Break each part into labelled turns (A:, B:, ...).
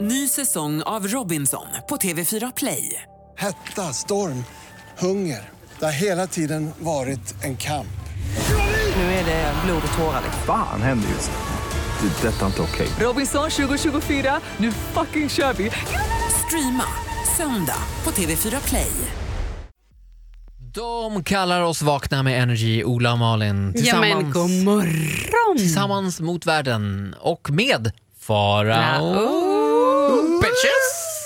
A: Ny säsong av Robinson på TV4 Play.
B: Hetta, storm, hunger. Det har hela tiden varit en kamp.
A: Nu är det blod och tårar.
C: liksom.
D: Fan händer just nu. Det. är Detta är inte okej.
A: Robinson 2024, nu fucking kör vi! Streama söndag på TV4 Play.
E: De kallar oss Vakna med Energy, Ola och Malin
C: Ja men
E: tillsammans,
C: god morgon!
E: tillsammans mot världen och med
C: Ah,
E: Farao.
C: oh.
E: Bitches!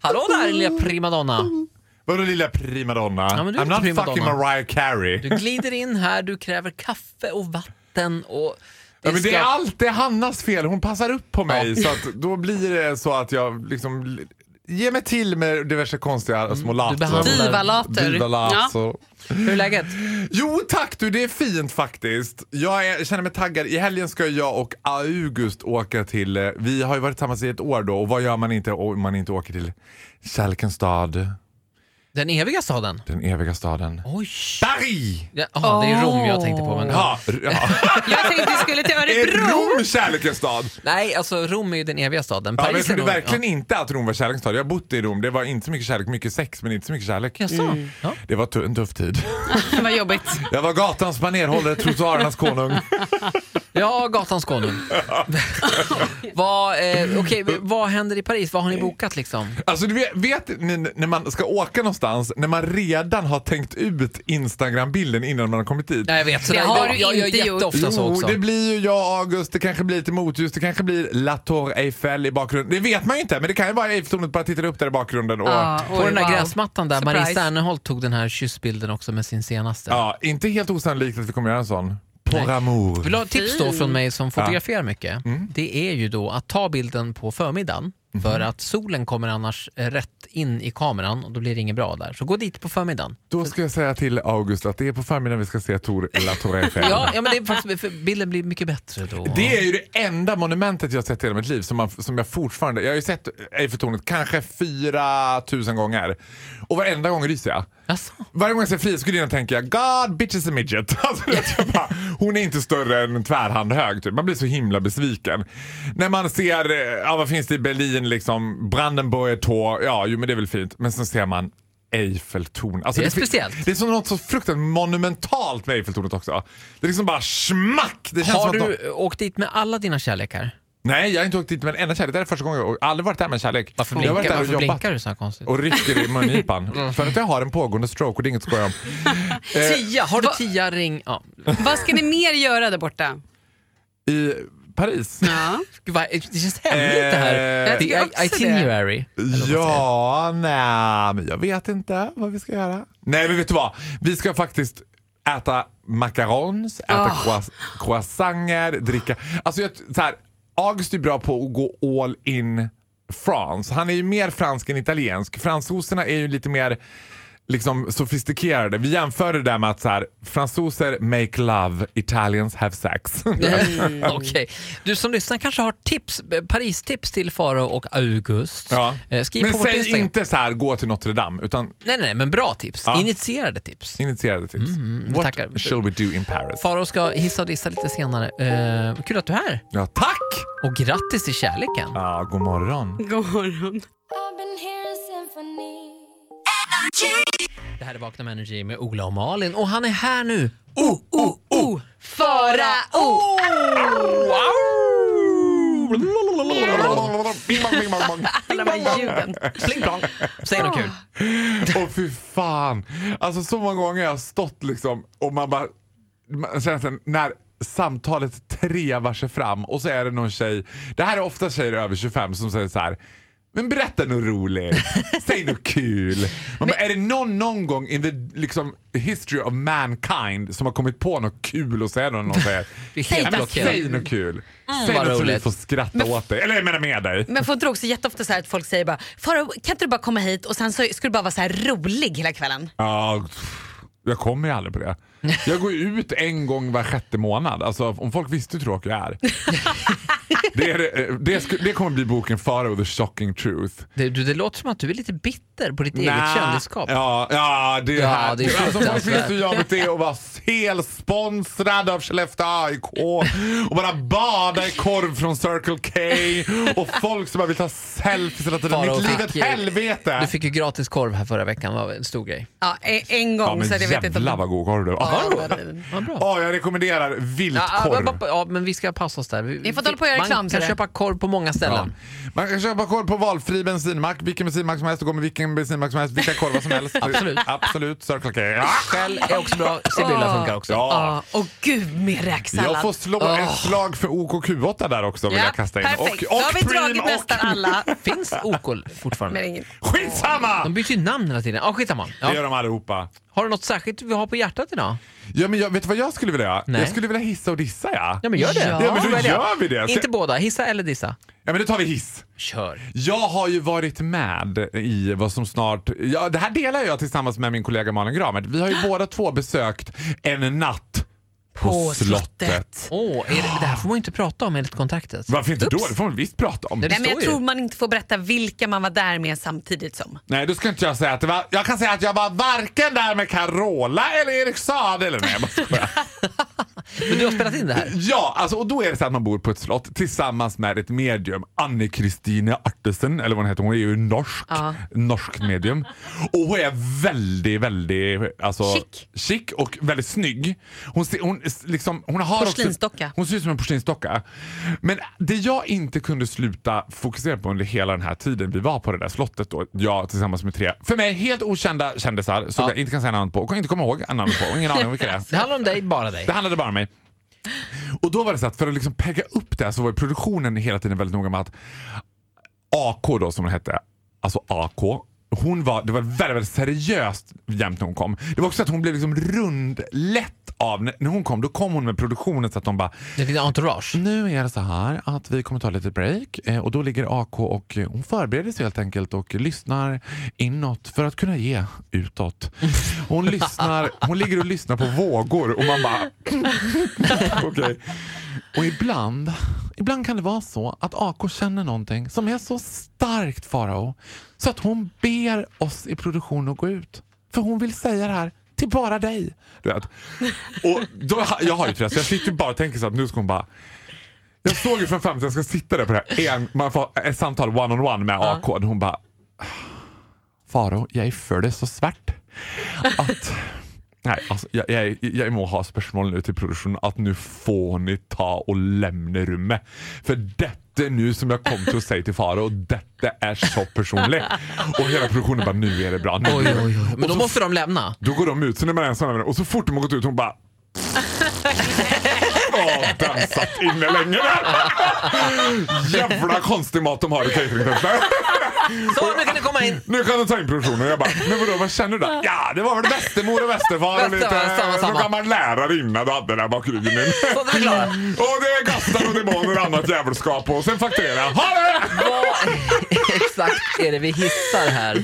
E: Hallå där lilla primadonna.
F: Vadå lilla primadonna?
E: men du är
F: I'm
E: inte
F: not
E: primadonna.
F: fucking Mariah Carey.
E: Du glider in här, du kräver kaffe och vatten och...
F: ja, men det
E: ska-
F: är alltid Hannas fel, hon passar upp på mig.
E: Ja.
F: Så att då blir det så att jag liksom ger mig till med diverse konstiga små later.
E: Mm, behandlar-
C: Divalater.
F: Divalater.
C: Hur är läget?
F: Jo tack du, det är fint faktiskt. Jag är, känner mig taggad. I helgen ska jag och August åka till, eh, vi har ju varit tillsammans i ett år då och vad gör man inte om man inte åker till kärlekens stad,
E: Den eviga staden.
F: den eviga staden.
E: Oj!
F: Paris!
E: Ja, aha, Det är Rom jag tänkte på. Men,
F: Ja, ja.
C: Jag tänkte vi skulle till
F: Är
C: Örebro.
F: Rom kärlekens stad?
E: Nej, alltså Rom är ju den eviga staden.
F: Ja, men jag
E: är
F: trodde
E: nog-
F: verkligen inte att Rom var kärlekens stad. Jag har bott i Rom, det var inte så mycket kärlek, mycket sex men inte så mycket kärlek.
E: Ja. Jaså? Ja.
F: Det var tu- en tuff tid.
C: Mm. Vad jobbigt.
F: Jag var gatans banerhållare, trottoarernas konung.
E: Ja, gatans konung. vad, eh, okej, vad händer i Paris? Vad har
F: Eh.
E: ni bokat liksom?
F: Alltså du vet, vet ni n- när man ska åka någonstans, när man redan har tänkt ut Instagram-bilden innan man har kommit dit.
E: Nej, jag vet.
C: Det
E: jag,
C: har
E: jag,
C: du
E: jag gör
C: inte gjort.
E: jätteofta så
F: Jo,
E: också.
F: det blir ju jag och August, det kanske blir lite motljus, det kanske blir La Tour Eiffel i bakgrunden. Det vet man ju inte, men det kan ju vara Eiffeltornet bara tittar upp där i bakgrunden. Och,
C: Ja,
E: På
C: oj,
E: den där
C: wow.
E: gräsmattan där, Marie
C: Surprise.
E: Serneholt tog den här kyssbilden också med sin senaste.
F: ja, inte helt osannolikt att vi kommer göra en sån. Pour amour.
E: Vill du ha ett tips då från mig som fotograferar mycket?
F: Mm.
E: Det är ju då att ta bilden på förmiddagen
F: Mhm.
E: för att solen kommer annars eh, rätt in i kameran och då blir det inget bra där. Så gå dit på förmiddagen.
F: Då ska jag säga till August att det är på förmiddagen vi ska se Tor La Tour Eiffel.
E: Ja, ja men det är faktiskt, för bilden blir mycket bättre då.
F: Det är ju det enda monumentet jag sett i hela mitt liv som, man, som jag fortfarande... Jag har ju sett Eiffeltornet kanske 4000 gånger och varenda gång ryser jag.
E: Jaså?
F: Varje gång jag ser Frida Skolin tänker jag God bitch is a midget. Alltså, du vet, jag bara, hon är inte större än en tvärhand hög. Typ. Man blir så himla besviken. När man ser, eh, ja vad finns det i Berlin liksom, Brandenburger Tor, ja jo men det är väl fint. Men sen ser man Eiffeltornet. Alltså,
E: Det är
F: fin-
E: speciellt.
F: Det är som något så fruktansvärt monumentalt med Eiffeltornet också. Det är liksom bara smack! Det känns
E: Har
F: som att de-
E: du åkt dit med alla dina kärlekar?
F: Nej, jag har inte åkt dit med en enda kärlek. Det här är första gången jag har aldrig varit där med en kärlek.
E: Varför
F: jag har
E: blinkar,
F: varit där och
E: varför
F: jobbat
E: blinkar du Mm. så här konstigt?
F: och rycker i mungipan. För att jag har en pågående stroke och det är inget att skoja om.
E: Tia, har du
C: Va-
E: tia ring? Ja.
C: Vad ska ni mer göra där borta?
F: I Paris?
C: Ja.
E: Gud, vad- Det känns hemligt det här.
C: Jag
E: Det
C: tycker
E: är
C: också
E: itinerary. eller vad man säger.
F: Eh. Ja, nej, men jag vet inte vad vi ska göra. Nej, men vet du vad? Vi ska faktiskt äta macarons, äta croiss- croissanter, dricka... Alltså, jag, så här, August är bra på att gå all in France. Han är ju mer fransk än italiensk. Fransoserna är ju lite mer liksom sofistikerade. Vi jämför det där med att så här, fransoser make love, Italians have sex.
E: Okej. Du som lyssnar kanske har tips, eh, Paris-tips till Faro och August.
F: ja.
E: Eh, Skriv
F: Men
E: på vårt
F: säg
E: Instagram.
F: inte så här, gå till Notre Dame, utan
E: Nej, nej, nej, men bra tips.
F: Ja.
E: Initierade tips.
F: Initierade tips. What
E: tackar.
F: shall we do in Paris?
E: Faro ska hissa och dissa lite senare. Eh, kul att du är här
F: Ja, tack!
E: och grattis till kärleken.
F: Ja, god morgon.
C: God morgon.
G: I've been hearing symphony.
E: Det här är Vakna med Energy med Ola och Malin och han är här nu. Oh, oh, oh! Farao!
C: Alla de här ljuden.
E: Pling plong. Säg något kul.
F: Och fy fan. Alltså så många gånger jag har stått liksom och man bara man känner sen när samtalet trevar sig fram och så är det någon tjej, det här är ofta tjejer över 25 som säger så här. Men berätta något roligt, säg något kul. Man bara, är det någon, någon gång in the liksom, history of mankind som har kommit på något kul att säga när någon säger
E: Det är helt Mm.
F: "Ja, men
E: blockerat."
F: Säg något kul. säg
E: vad
F: något så vi
E: roligt.
F: får skratta åt dig. Eller jag menar med dig.
H: Men får inte du också jätteofta så här att folk säger bara Farao kan inte du bara komma hit och sen så skulle du bara vara så här rolig hela kvällen.
F: Ja, pff, jag kommer ju aldrig på det. Jag går ju ut en gång var sjätte månad. Alltså, om folk visste hur tråkig jag är. Det, är, eh, det, sku- det kommer bli boken Farao the shocking truth.
E: Det, du, det låter som att du är lite bitter på ditt
F: Nä.
E: eget kändisskap.
F: Ja, ja det är
E: Ja,
F: här.
E: det är
F: alltså, folk
E: fruktansvärt.
F: vet hur jobbigt det är att vara helsponsrad av Skellefteå AIK och bara bada i korv från Circle K och folk som bara vill ta selfies hela tiden.
E: Farao
F: Mitt liv är
E: fick ju-
F: ett helvete.
E: Du fick ju gratis korv här förra veckan, det var en stor grej.
H: Ja, e- en gång
F: ja, men
H: så att jag vet inte om...
F: jävlar vad god korv det var.
H: Ja,
F: Ja,
H: men-
E: Ja, bra.
F: jag rekommenderar
E: Ja,
F: viltkorv.
E: men- ja, men vi ska passa oss där. Vi-
H: Ni får hålla på och göra reklam
E: Man
H: för
E: kan
H: det.
E: köpa korv på många
F: Ja.
E: ställen.
F: Man kan köpa korv på valfri bensinmack, vilken bensinmack som helst och gå med vilken bensinmack som helst, vilka korvar som helst.
E: Absolut.
F: Absolut, Circle K. Ja.
E: Shell är också bra, Sibylla funkar också. Ah,
H: Ja, och gud med räksallad.
F: Jag får slå ett slag för OKQ8 där också vill
H: Ja,
F: jag kasta in.
H: Perfekt,
F: Och,
H: då har vi
F: Preem
H: dragit
F: och-
H: nästan alla.
E: Finns OK fortfarande?
H: Men ingen...
F: Skitsamma!
E: De byter ju namn hela tiden. Ja, skitsamma.
F: Det gör
E: Ja.
F: de allihopa.
E: Har du något särskilt vi har på hjärtat idag?
F: Ja, men jag, vet du vad jag skulle vilja göra?
E: Nej.
F: Jag skulle vilja hissa och dissa ja.
E: Ja, men gör det.
H: Ja. Ja,
F: men då
E: Vad är
F: gör vi det. Så-
E: Inte båda, hissa eller dissa.
F: Ja, men då tar vi hiss.
E: Kör.
F: Jag har ju varit med i vad som snart... Ja, det här delar jag tillsammans med min kollega Malin Gramert. Vi har ju båda två besökt En natt på,
H: På slottet.
F: slottet.
E: Åh, är det, det här får man ju inte prata om enligt kontraktet.
F: Varför inte då?
E: Ups.
F: Det får man visst prata om.
E: Nej,
H: Nej, men jag
E: står ju.
H: tror man inte får berätta vilka man var där med samtidigt som.
F: Nej, då ska inte jag säga att det var... Jag kan säga att jag var varken där med Carola eller Erik Saade eller... Nej, jag bara skojar.
E: Men du har spelat in det här?
F: Ja, alltså, och då är det så att man bor på ett slott tillsammans med ett medium, Anne-Kristine Artesen, eller vad hon heter. Hon är ju norsk. Norskt medium. Och hon är väldigt, väldigt... Alltså,
H: Chic.
F: chic och väldigt snygg. Hon, ser, hon, s- liksom, hon har
H: Porslinsdocka.
F: Också, hon ser ut som en porslinsdocka. Men det jag inte kunde sluta fokusera på under hela den här tiden vi var på det där slottet, då, jag tillsammans med tre, för mig helt okända kändisar som jag inte kan säga namn på och kan inte komma ihåg namn på. Ingen aning om vilka det är.
E: Det handlar om dig, bara dig.
F: Det handlade bara om mig. Och då var det så att för att liksom pegga upp det här så var ju produktionen hela tiden väldigt noga med att AK då som hon hette, alltså AK, hon var, det var väldigt, väldigt seriöst jämt när hon kom. Det var också att hon blev liksom rundlätt av, när när hon kom då kom hon med produktionen så att de bara
E: Det är din entourage.
F: nu är det så här att vi kommer ta lite break eh, och då ligger AK och eh, hon förbereder sig helt enkelt och lyssnar inåt för att kunna ge utåt. Hon, lyssnar, hon ligger och lyssnar på vågor och man bara... Okej. Och ibland, ibland kan det vara så att AK känner någonting som är så starkt Farao så att hon ber oss i produktionen att gå ut. För hon vill säga det här till bara dig. Du vet. Och då, jag har ju stress, jag sitter ju bara och tänker så att nu ska hon bara jag såg ju framför mig att jag ska sitta där på det här. En, man får ett samtal one-on-one on one med AK. och Hon bara... Faro, jag är för det så svärt att... Nej, alltså, jag, jag, jag må ha spörsmål nu till produktionen att nu får ni ta och lämna rummet. För detta är nu som jag kom till att säga till Faro, och detta är så personligt. Och hela produktionen bara, nu är det bra. Nu.
E: Oj, oj, oj. Men då
F: Och så-
E: måste de lämna.
F: Då går de ut, sen är man ensam med dem. Och så fort de har gått ut, hon bara... Åh, den satt inne länge där! Jävla konstig mat de har i cateringfesten.
E: Så, nu kan ni komma in!
F: Nu kan de ta in produktionen. Jag bara, men vadå, vad känner du då? Ja, det var väl västermor och västerfar och lite eh,
E: Västerfar, samma, samma.
F: någon gammal lärare innan du hade där bak ryggen.
E: Så, nu är vi klara.
F: Och det är gastar och demoner och annat djävulskap och sen fakturera. Ha det!
E: Vad exakt är det vi hissar
F: Alltså.
E: här?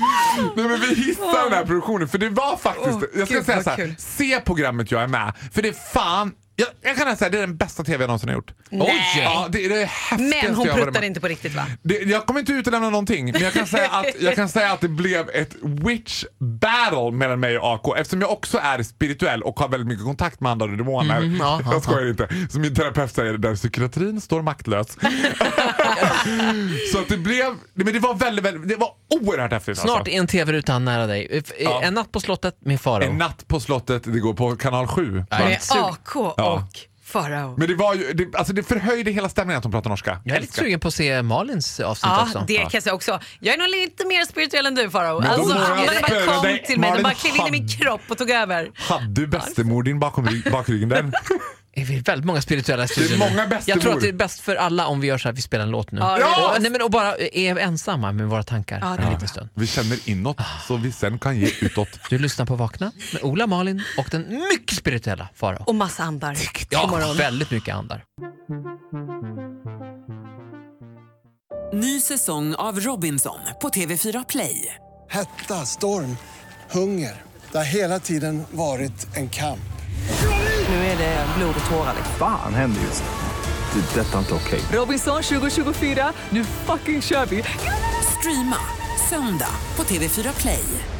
F: Nej men vi hissar den här produktionen för det var faktiskt, jag ska
H: gud,
F: säga
H: vad
F: så här,
H: kul.
F: se programmet jag är med för det är fan, jag, jag kan säga det är den bästa tv jag någonsin har gjort.
E: Oj!
F: Ja, det är det häftigaste
H: Men hon
F: jag har varit
H: pruttade
F: med-
H: inte på riktigt va?
F: det, jag kommer inte utelämna någonting, men jag kan, säga att, jag kan säga att det blev ett witch battle mellan mig och AK eftersom jag också är spirituell och har väldigt mycket kontakt med andra demoner.
H: Mhm.
E: ja, ja,
F: jag skojar inte. Som min terapeut säger, där psykiatrin står maktlös. Så att det blev, men det var väldigt, väldigt, det var oerhört häftigt.
E: Snart
F: alltså.
E: är en tv-ruta nära dig. F-
F: Ja.
E: En natt på slottet med Farao.
F: En natt på slottet, det går på kanal 7.
E: Nej.
H: Med AK och Farao.
F: Men det var ju, det, alltså det förhöjde hela stämningen att de pratar norska.
E: Jag är lite
F: Älskar.
E: sugen på att se Malins avsnitt
H: Ja,
E: också.
H: det kan jag säga också. Jag är nog lite mer spirituell än du Farao.
F: Men då
H: Alltså,
F: må jag
H: andarna bara
F: spöra
H: kom
F: dig,
H: till mig, de
F: Malin
H: bara klev in i min
F: Hand.
H: kropp och tog över.
F: Hade du bestemor din bakom rygg- bakryggen den?
E: Är vi väldigt många spirituella i studion
F: många
E: nu?
F: bästemor.
E: Jag tror att det är bäst för alla om vi gör så här, vi spelar en låt nu.
F: Ja!
E: Och, nej, men, och bara är ensamma med våra tankar en liten stund.
F: Vi känner inåt så vi sen kan ge utåt.
E: Du lyssnar på Vakna med Ola, Malin och den mycket spirituella Farao.
H: Och massa andar. God
E: Ja,
H: morgon.
E: väldigt mycket andar.
A: Ny säsong av Robinson på TV4 Play.
B: Hetta, storm, hunger. Det har hela tiden varit en kamp.
A: Nu är det blod och tårar.
D: Fan händer just det. Det, detta är inte okej.
A: Robinson 2024, nu fucking kör vi! Streama söndag på TV4 Play.